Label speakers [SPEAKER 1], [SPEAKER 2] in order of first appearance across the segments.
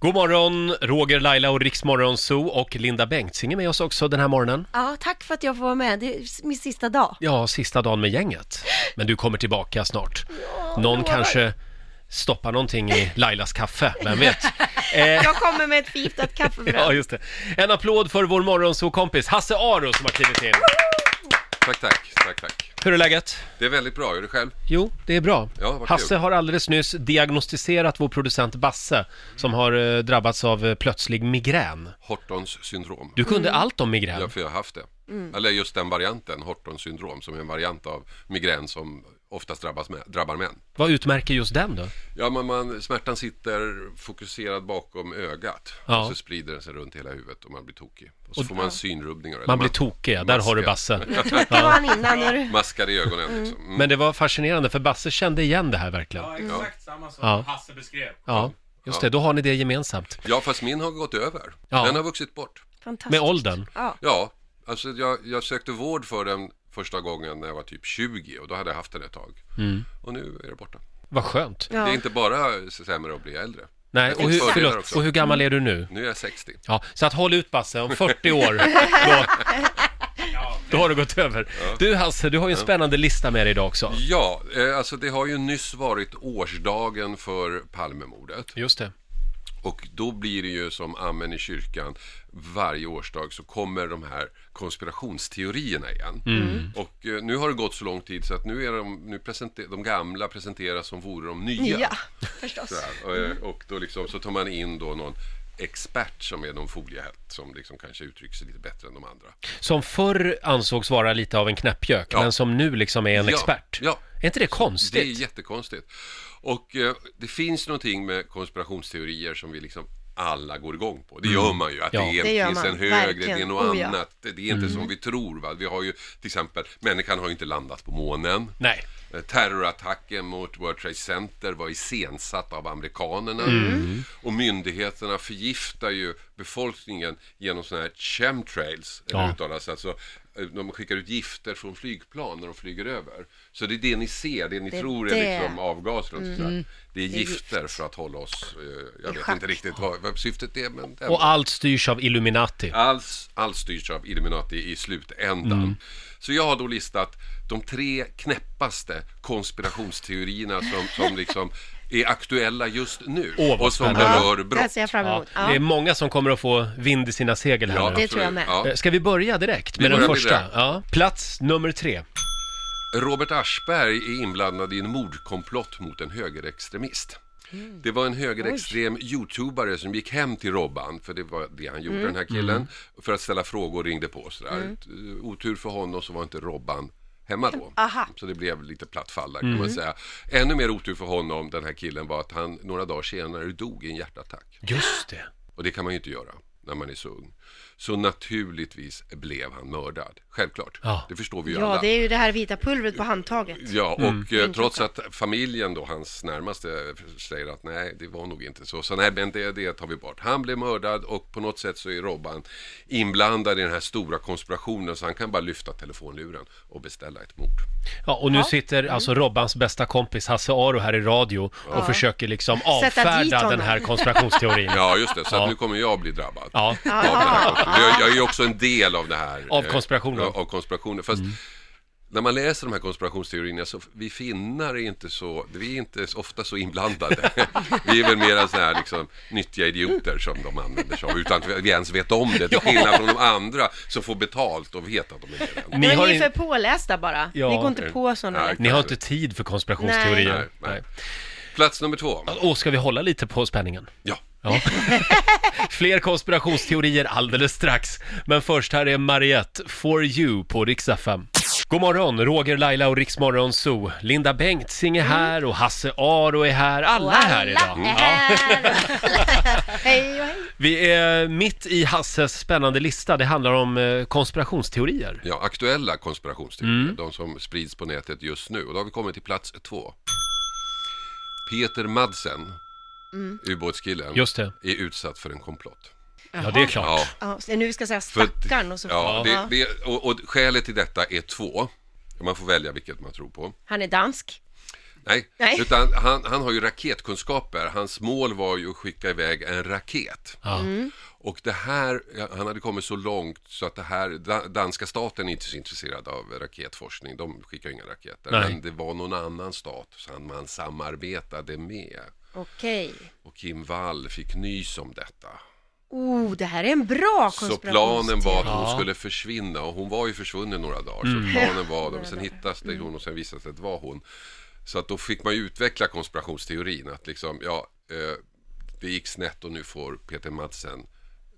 [SPEAKER 1] God morgon, Roger, Laila och Riksmorgon Zoo och Linda Bengtzing är med oss också den här morgonen.
[SPEAKER 2] Ja, tack för att jag får vara med. Det är min sista dag.
[SPEAKER 1] Ja, sista dagen med gänget. Men du kommer tillbaka snart. Någon kanske stoppar någonting i Lailas kaffe, vem vet? Eh,
[SPEAKER 2] Jag kommer med ett förgiftat
[SPEAKER 1] ja,
[SPEAKER 2] kaffebröd.
[SPEAKER 1] just det. En applåd för vår morgonzoo-kompis Hasse Aro som har klivit in.
[SPEAKER 3] Tack, tack, tack, tack.
[SPEAKER 1] Hur är läget?
[SPEAKER 3] Det är väldigt bra, gör du själv?
[SPEAKER 1] Jo, det är bra.
[SPEAKER 3] Ja, vad kul.
[SPEAKER 1] Hasse har alldeles nyss diagnostiserat vår producent Basse som har eh, drabbats av eh, plötslig migrän.
[SPEAKER 3] Hortons syndrom.
[SPEAKER 1] Du kunde allt om migrän.
[SPEAKER 3] Ja, för jag har haft det. Eller just den varianten, Hortons syndrom, som är en variant av migrän som oftast drabbas med, drabbar män.
[SPEAKER 1] Vad utmärker just den då?
[SPEAKER 3] Ja, men man, smärtan sitter fokuserad bakom ögat
[SPEAKER 1] Ja.
[SPEAKER 3] och så sprider den sig runt hela huvudet och man blir tokig. Och så får man synrubbningar. eller
[SPEAKER 1] Man blir tokig, ja. där har du Basse.
[SPEAKER 2] Knäcker man innan när
[SPEAKER 3] Maskar i ögonen liksom. Mm.
[SPEAKER 1] Men det var fascinerande för Basse kände igen det här verkligen.
[SPEAKER 4] Ja, exakt samma som
[SPEAKER 1] Ja.
[SPEAKER 4] Hasse beskrev.
[SPEAKER 1] Ja, just det, då har ni det gemensamt.
[SPEAKER 3] Ja, fast min har gått över.
[SPEAKER 1] Ja.
[SPEAKER 3] Den har vuxit bort.
[SPEAKER 2] Fantastiskt.
[SPEAKER 1] Med åldern.
[SPEAKER 2] Ja.
[SPEAKER 3] Ja, alltså jag, jag sökte vård för den första gången när jag var typ 20 och då hade jag haft den ett tag.
[SPEAKER 1] Mm.
[SPEAKER 3] Och nu är det borta.
[SPEAKER 1] Vad skönt.
[SPEAKER 2] Ja.
[SPEAKER 3] Det är inte bara sämre att bli äldre.
[SPEAKER 1] Nej,
[SPEAKER 3] Det
[SPEAKER 1] och
[SPEAKER 3] finns
[SPEAKER 1] hur,
[SPEAKER 3] fördelar
[SPEAKER 1] förlåt,
[SPEAKER 3] också.
[SPEAKER 1] och hur gammal är du nu?
[SPEAKER 3] Nu är jag 60.
[SPEAKER 1] Ja, så att håll ut Basse, om 40 år, då, då har det gått över. Du Hasse, du har ju en spännande lista med dig idag också.
[SPEAKER 3] Ja, eh, alltså det har ju nyss varit årsdagen för Palmemordet.
[SPEAKER 1] Just det.
[SPEAKER 3] Och då blir det ju som amen i kyrkan. Varje årsdag så kommer de här konspirationsteorierna igen. Och eh, nu har det gått så lång tid så att nu är de, nu presenter, de gamla presenteras som vore de nya.
[SPEAKER 2] Ja, förstås.
[SPEAKER 3] Sådär. Och, eh, och då liksom, så tar man in då någon expert som är någon foliehatt som liksom kanske uttrycker sig lite bättre än de andra.
[SPEAKER 1] Som förr ansågs vara lite av en knäppjök,
[SPEAKER 3] Ja.
[SPEAKER 1] men som nu liksom är en
[SPEAKER 3] Ja,
[SPEAKER 1] expert.
[SPEAKER 3] ja.
[SPEAKER 1] Är inte det konstigt?
[SPEAKER 3] Det är jättekonstigt. Och eh, det finns någonting med konspirationsteorier som vi liksom alla går igång på. Det gör man ju. Att
[SPEAKER 1] Mm. Ja. Mm.
[SPEAKER 3] det,
[SPEAKER 2] Det
[SPEAKER 3] är,
[SPEAKER 2] gör
[SPEAKER 3] finns
[SPEAKER 2] man,
[SPEAKER 3] en högre, det är
[SPEAKER 2] verkligen.
[SPEAKER 3] något
[SPEAKER 2] Oh, ja.
[SPEAKER 3] annat. Det är inte som vi tror. Va? Vi har ju till exempel, människan har ju inte landat på månen.
[SPEAKER 1] Nej.
[SPEAKER 3] Eh, Terrorattacken mot World Trade Center var iscensatt av amerikanerna. Mm. Och myndigheterna förgiftar ju befolkningen genom sådana här chemtrails.
[SPEAKER 1] Ja.
[SPEAKER 3] Ja. Uttalas. Alltså, eh, de skickar ut gifter från flygplan när de flyger över. Så det är det ni ser, det ni
[SPEAKER 2] Det är
[SPEAKER 3] tror
[SPEAKER 2] det.
[SPEAKER 3] är liksom avgaser och sånt där. Det är gifter för att hålla oss, eh, jag vet
[SPEAKER 2] schack.
[SPEAKER 3] inte riktigt vad, vad syftet är men...
[SPEAKER 1] Och allt styrs av Illuminati.
[SPEAKER 3] Allt, allt styrs av Illuminati i slutändan.
[SPEAKER 1] Mm.
[SPEAKER 3] Så jag har då listat de tre knäppaste konspirationsteorierna som, som liksom är aktuella just nu
[SPEAKER 1] Åh, vad
[SPEAKER 3] och som
[SPEAKER 1] spännande.
[SPEAKER 3] berör
[SPEAKER 2] det här
[SPEAKER 3] brott.
[SPEAKER 2] ser jag fram
[SPEAKER 1] Ja,
[SPEAKER 2] emot.
[SPEAKER 1] det är många som kommer att få vind i sina segel här nu.
[SPEAKER 2] det tror jag med.
[SPEAKER 3] absolut.
[SPEAKER 1] Eh, Ska vi börja direkt med
[SPEAKER 3] Vi
[SPEAKER 1] den
[SPEAKER 3] börjar
[SPEAKER 1] första?
[SPEAKER 3] direkt.
[SPEAKER 1] Ja. Plats nummer tre.
[SPEAKER 3] Robert Aschberg är inblandad i en mordkomplott mot en högerextremist.
[SPEAKER 2] Mm.
[SPEAKER 3] Det var en högerextrem youtubare som gick hem till Robban, för det var det han
[SPEAKER 2] Mm.
[SPEAKER 3] gjorde den här killen, för att ställa frågor och ringde på och sådär. Eh, Otur för honom så var inte Robban hemma då.
[SPEAKER 2] Mm. Aha. Mm.
[SPEAKER 3] Så det blev lite platt fall där kan man säga. Ännu mer otur för honom, den här killen, var att han några dagar senare dog i en hjärtattack.
[SPEAKER 1] Just det.
[SPEAKER 3] Och det kan man ju inte göra när man är så ung. Så naturligtvis blev han mördad. Självklart.
[SPEAKER 1] Ja.
[SPEAKER 3] Det förstår vi ju
[SPEAKER 2] Ja,
[SPEAKER 3] alla.
[SPEAKER 2] det är ju det här vita pulvret på handtaget.
[SPEAKER 3] Ja, och
[SPEAKER 1] Mm.
[SPEAKER 3] eh, trots att familjen då, hans närmaste, säger att nej, det var nog inte så. Så nej, men det, det tar vi bort. Han blev mördad och på något sätt så är Robban inblandad i den här stora konspirationen så han kan bara lyfta telefonluren och beställa ett mord.
[SPEAKER 1] Ja, och nu sitter alltså Robbans bästa kompis Hasse Aro här i radio och försöker liksom
[SPEAKER 2] dit
[SPEAKER 1] avfärda
[SPEAKER 2] honom.
[SPEAKER 1] den här konspirationsteorin.
[SPEAKER 3] Ja, just det. Så
[SPEAKER 1] Ja.
[SPEAKER 3] att nu kommer jag bli drabbad.
[SPEAKER 1] Ja,
[SPEAKER 3] Av den här konspirationen. jag, jag är ju också en del av det här.
[SPEAKER 1] Av
[SPEAKER 3] eh,
[SPEAKER 1] konspirationen.
[SPEAKER 3] Av, av konspirationen. Fast när man läser de här konspirationsteorierna så vi finnar är inte så, vi är inte så ofta så inblandade. vi är väl mera så här liksom nyttiga idioter som de använder sig av utan att vi ens vet om det. Till skillnad från de andra som får betalt och vet att de är med den.
[SPEAKER 1] ni
[SPEAKER 2] Men
[SPEAKER 1] har,
[SPEAKER 2] ni är för
[SPEAKER 1] in,
[SPEAKER 2] pålästa bara.
[SPEAKER 1] Ja.
[SPEAKER 2] Ni går inte på sådana.
[SPEAKER 3] Nej.
[SPEAKER 2] lätt.
[SPEAKER 1] ni har inte tid för konspirationsteorier.
[SPEAKER 3] Nej, nej. Plats nummer två.
[SPEAKER 1] Och ska vi hålla lite på spänningen?
[SPEAKER 3] Ja.
[SPEAKER 1] Ja. Fler konspirationsteorier alldeles strax. Men först här är Mariette, For You på Rix FM. God morgon, Roger, Laila och Riksmorgon Zoo. Linda Bengtzing är här och Hasse Aro är här. Alla är här idag.
[SPEAKER 2] Alla är
[SPEAKER 1] Ja.
[SPEAKER 2] här. Hej och hej.
[SPEAKER 1] Vi är mitt i Hasses spännande lista. Det handlar om eh, konspirationsteorier.
[SPEAKER 3] Ja, aktuella konspirationsteorier,
[SPEAKER 1] Mm.
[SPEAKER 3] de som sprids på nätet just nu. Och då har vi kommit till plats två. Peter Madsen,
[SPEAKER 2] Mm.
[SPEAKER 3] ubåtskillen,
[SPEAKER 1] Just det.
[SPEAKER 3] är utsatt för en komplott.
[SPEAKER 1] Ja, det är klart.
[SPEAKER 3] Ja,
[SPEAKER 2] Ja, så nu ska jag säga
[SPEAKER 3] för-
[SPEAKER 2] stackarn och så.
[SPEAKER 3] ja,
[SPEAKER 2] Ja.
[SPEAKER 3] det, det, och, och skälet till detta är två. Man får välja vilket man tror på.
[SPEAKER 2] Han är dansk.
[SPEAKER 3] Nej,
[SPEAKER 2] Nej.
[SPEAKER 3] utan han, han har ju raketkunskaper. Hans mål var ju att skicka iväg en raket.
[SPEAKER 1] Ja.
[SPEAKER 3] Och det här, han hade kommit så långt så att det här, da- danska staten är inte så intresserad av raketforskning. De skickar ju inga raketer.
[SPEAKER 1] Nej.
[SPEAKER 3] Men det var någon annan stat som man samarbetade med.
[SPEAKER 2] Okej.
[SPEAKER 3] Och Kim Wall fick nys om detta.
[SPEAKER 2] Oh, det här är en bra
[SPEAKER 3] Så
[SPEAKER 2] konspirationsteori.
[SPEAKER 3] planen var att hon
[SPEAKER 1] Ja. Mm.
[SPEAKER 3] skulle försvinna och hon var ju försvunnen några dagar. Så planen var, men sen hittades det hon och sen visade det sig att det var hon. Så att då fick man ju utveckla konspirationsteorin att liksom, ja, eh, det gick snett och nu får Peter Madsen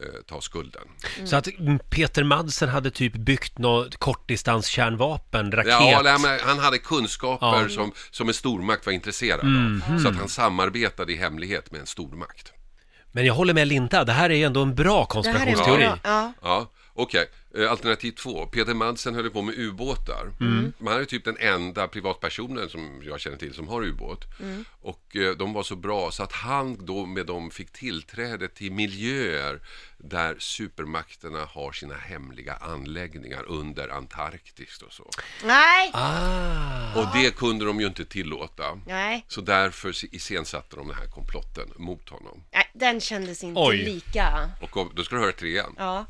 [SPEAKER 3] eh, ta skulden.
[SPEAKER 1] Så att mm, Peter Madsen hade typ byggt något kortdistanskärnvapen, raket.
[SPEAKER 3] Ja, nej, men han hade kunskaper
[SPEAKER 1] Ja. Mm,
[SPEAKER 3] som, som en stormakt var intresserad av. Så att han samarbetade i hemlighet med en stormakt.
[SPEAKER 1] Men jag håller med Linda, det här är ju ändå en bra
[SPEAKER 2] Det här är en
[SPEAKER 1] konspirationsteori.
[SPEAKER 2] bra. Ja.
[SPEAKER 3] Ja, okej. Eh, Alternativ två. Peter Madsen höll ju på med ubåtar.
[SPEAKER 1] Mm.
[SPEAKER 3] Man är ju typ den enda privatpersonen som jag känner till som har ubåt. Och eh, de var så bra så att han då med dem fick tillträde till miljöer där supermakterna har sina hemliga anläggningar under Antarktis och så.
[SPEAKER 2] Nej.
[SPEAKER 1] Ah.
[SPEAKER 3] Och det kunde de ju inte tillåta.
[SPEAKER 2] Nej.
[SPEAKER 3] Så därför iscensatte de den här komplotten mot honom.
[SPEAKER 2] Nej, den kändes inte
[SPEAKER 1] Oj.
[SPEAKER 2] lika.
[SPEAKER 3] Och om- då ska du höra trean.
[SPEAKER 2] Ja.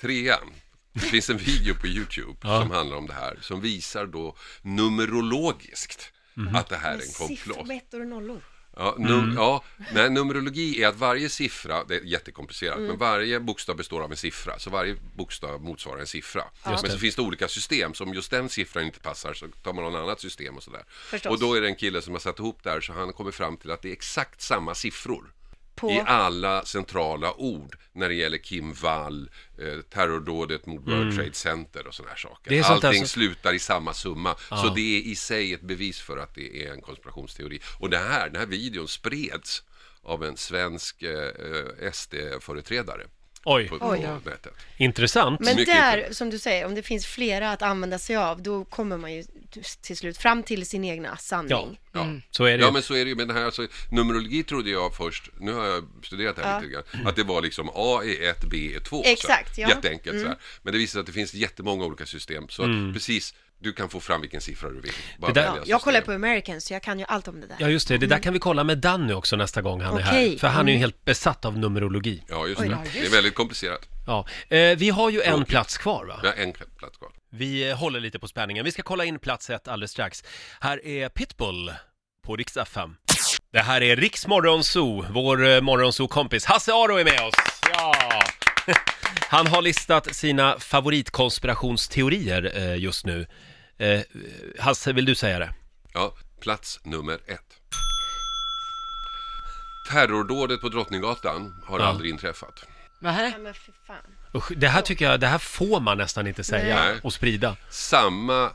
[SPEAKER 3] Trean. Det finns en video på Youtube som handlar om det här som visar då numerologiskt att det här är en
[SPEAKER 2] Siffror
[SPEAKER 3] komplott.
[SPEAKER 2] med ettor och nollor.
[SPEAKER 3] Ja, num- ja, nej, numerologi är att varje siffra, det är jättekomplicerat,
[SPEAKER 2] Mm.
[SPEAKER 3] men varje bokstav består av en siffra. Så varje bokstav motsvarar en siffra. men så finns det olika system, så om just den siffran inte passar så tar man något annat system och sådär.
[SPEAKER 2] Förstås.
[SPEAKER 3] Och då är det en kille som har satt ihop det här så han kommer fram till att det är exakt samma siffror
[SPEAKER 2] På-
[SPEAKER 3] i alla centrala ord när det gäller Kim Wall, eh, terrordådet mot World Trade Center och sådana här saker.
[SPEAKER 1] Mm. Det är sånt där
[SPEAKER 3] Allting
[SPEAKER 1] som-
[SPEAKER 3] slutar i samma summa. Så det är i sig ett bevis för att det är en konspirationsteori. Och det här, den här videon spreds av en svensk eh, eh, SD-företrädare
[SPEAKER 1] Oj,
[SPEAKER 3] på, på
[SPEAKER 2] Oj, ja.
[SPEAKER 3] nätet.
[SPEAKER 1] intressant.
[SPEAKER 2] Men
[SPEAKER 3] Mycket
[SPEAKER 2] där, som du säger, om det finns flera att använda sig av, då kommer man ju till slut fram till sin egna
[SPEAKER 1] Ja,
[SPEAKER 2] sanning.
[SPEAKER 3] Ja.
[SPEAKER 1] så är det
[SPEAKER 3] Ja
[SPEAKER 1] ju.
[SPEAKER 3] men så är det ju med det här, alltså, numerologi trodde jag först, nu har jag studerat det här lite grann, att det var liksom A är 1, B är 2.
[SPEAKER 2] Exakt,
[SPEAKER 3] så
[SPEAKER 2] ja. Mm.
[SPEAKER 3] här. Jätteenkelt så här. Men det visar sig att det finns jättemånga olika system, så precis, du kan få fram vilken siffra du vill. Bara
[SPEAKER 1] Mm. Det där-
[SPEAKER 3] välja
[SPEAKER 1] Ja,
[SPEAKER 2] Jag kollar
[SPEAKER 3] system.
[SPEAKER 2] på Americans, så jag kan ju allt om det där.
[SPEAKER 1] Ja, just det. Det där kan vi kolla med Danny också nästa gång han är här.
[SPEAKER 2] Mm. Okej. Mm.
[SPEAKER 1] För han är ju helt besatt av numerologi.
[SPEAKER 3] Ja, just
[SPEAKER 2] Oj då.
[SPEAKER 3] det. Det är väldigt komplicerat.
[SPEAKER 1] Ja. Eh, vi har ju en
[SPEAKER 3] Tråkigt.
[SPEAKER 1] plats kvar, va?
[SPEAKER 3] Vi har en plats kvar.
[SPEAKER 1] Vi eh, håller lite på spänningen. Vi ska kolla in plats ett alldeles strax. Här är Pitbull på Rix FM. Det här är Rix Morgonzoo. Vår eh, Morgonzoo-kompis Hasse Aro är med oss. Ja. Han har listat sina favoritkonspirationsteorier eh, just nu. Eh, Hasse, vill du säga det?
[SPEAKER 3] Ja, plats nummer ett. Terrordådet på Drottninggatan har
[SPEAKER 1] Ja.
[SPEAKER 3] aldrig inträffat.
[SPEAKER 2] Ja, men för fan.
[SPEAKER 1] Usch, det här tycker jag, det här får man nästan inte säga
[SPEAKER 3] Nej.
[SPEAKER 1] och sprida.
[SPEAKER 3] Samma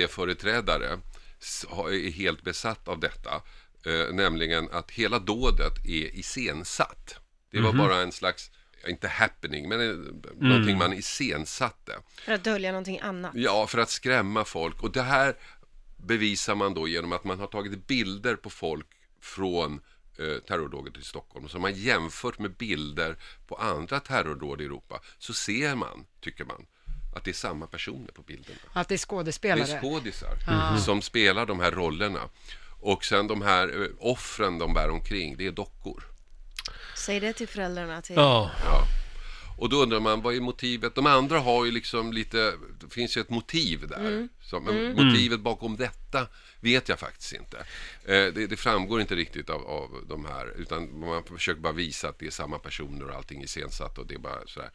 [SPEAKER 3] SD-företrädare s- har- är helt besatt av detta, eh, nämligen att hela dådet är iscensatt. Det var bara en slags, inte happening, men mm. någonting man iscensatte.
[SPEAKER 2] För att dölja någonting annat.
[SPEAKER 3] Ja, för att skrämma folk. Och det här bevisar man då genom att man har tagit bilder på folk från eh, terrordådet i Stockholm. Som man jämfört med bilder på andra terrordåd i Europa. Så ser man, tycker man, att det är samma personer på bilderna.
[SPEAKER 4] Att det är
[SPEAKER 3] Det
[SPEAKER 4] skådespelare. Ah. Mm-hmm.
[SPEAKER 3] är skådisar som spelar de här rollerna. Och sen de här eh, offren de bär omkring, det är dockor.
[SPEAKER 2] Säg det till föräldrarna till...
[SPEAKER 1] Ja,
[SPEAKER 3] Och då undrar man, vad är motivet? De andra har ju liksom lite, det finns ju ett motiv där.
[SPEAKER 2] Mm.
[SPEAKER 3] Så, men
[SPEAKER 1] Mm.
[SPEAKER 3] motivet bakom detta vet jag faktiskt inte. Eh, det, det framgår inte riktigt av, av de här, utan man försöker bara visa att det är samma personer och allting är iscensatt och det är bara sådär.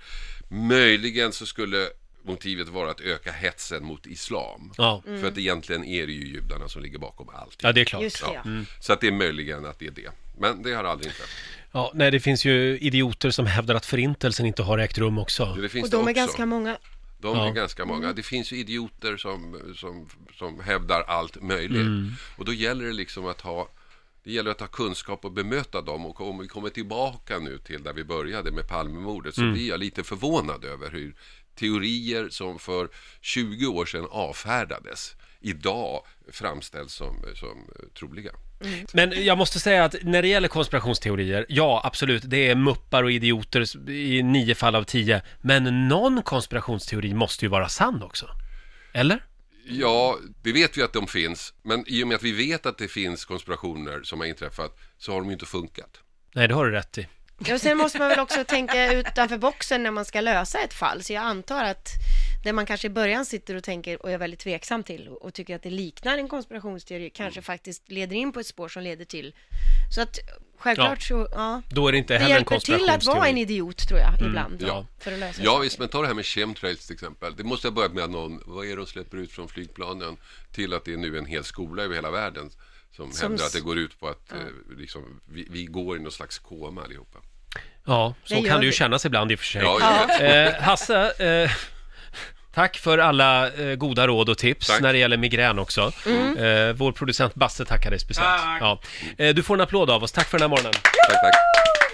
[SPEAKER 3] Möjligen så skulle motivet vara att öka hetsen mot islam.
[SPEAKER 1] ja,
[SPEAKER 3] För
[SPEAKER 2] Mm.
[SPEAKER 3] att egentligen är det ju judarna som ligger bakom allt.
[SPEAKER 1] ja Mm. det är klart.
[SPEAKER 2] Just det,
[SPEAKER 3] Ja.
[SPEAKER 2] ja.
[SPEAKER 3] Så att det är möjligen att det är det. Men det har aldrig inte.
[SPEAKER 1] Ja, nej, det finns ju idioter som hävdar att förintelsen inte har ägt rum också.
[SPEAKER 3] Det finns
[SPEAKER 2] Och
[SPEAKER 3] det
[SPEAKER 2] de är
[SPEAKER 3] också.
[SPEAKER 2] ganska många.
[SPEAKER 3] De
[SPEAKER 1] Ja.
[SPEAKER 3] är ganska många. Det finns ju idioter som, som, som hävdar allt möjligt. Och då gäller det liksom att ha det gäller att ha kunskap och bemöta dem och om vi kommer tillbaka nu till där vi började med Palmemordet så blir jag lite förvånad över hur teorier som för 20 år sedan avfärdades idag framställs som, som eh, troliga.
[SPEAKER 1] Men jag måste säga att när det gäller konspirationsteorier, ja absolut, det är muppar och idioter i nio fall av tio. Men någon konspirationsteori måste ju vara sann också. Eller?
[SPEAKER 3] Ja, det vet vi att de finns, men i och med att vi vet att det finns konspirationer som har inträffat så har de ju inte funkat.
[SPEAKER 1] Nej, det har du rätt i.
[SPEAKER 2] Ja, Och sen måste man väl också tänka utanför boxen när man ska lösa ett fall. Så jag antar att det man kanske i början sitter och tänker och är väldigt tveksam till och och tycker att det liknar en konspirationsteori kanske faktiskt leder in på ett spår som leder till. Så att självklart
[SPEAKER 1] Mm. Ja.
[SPEAKER 2] så, ja.
[SPEAKER 1] Då är det inte
[SPEAKER 2] Det
[SPEAKER 1] heller en
[SPEAKER 2] hjälper till att vara en
[SPEAKER 1] konspirationsteori. Mm.
[SPEAKER 2] idiot tror jag ibland.
[SPEAKER 3] ja.
[SPEAKER 2] För att lösa
[SPEAKER 3] Ja
[SPEAKER 2] saker.
[SPEAKER 3] visst, men ta det här med chemtrails till exempel. Det måste ha börjat med att någon, vad är det de släpper ut från flygplanen? Till att det är nu en hel skola över hela världen som,
[SPEAKER 2] Som
[SPEAKER 3] hävdar
[SPEAKER 2] s-
[SPEAKER 3] att det går ut på att eh, liksom, vi, vi går i någon slags koma allihopa.
[SPEAKER 1] Ja, så
[SPEAKER 2] Det
[SPEAKER 1] kan
[SPEAKER 2] gör
[SPEAKER 1] det ju
[SPEAKER 2] vi.
[SPEAKER 1] kännas ibland i och för sig.
[SPEAKER 3] Ja, jag vet.
[SPEAKER 1] Eh, Hasse, eh, tack för alla eh, goda råd och tips
[SPEAKER 3] Tack.
[SPEAKER 1] när det gäller migrän också. Eh, vår producent Basse tackar dig speciellt.
[SPEAKER 4] Tack.
[SPEAKER 1] Ja. Eh, du får en applåd av oss. Tack för den här morgonen.
[SPEAKER 3] Tack, tack.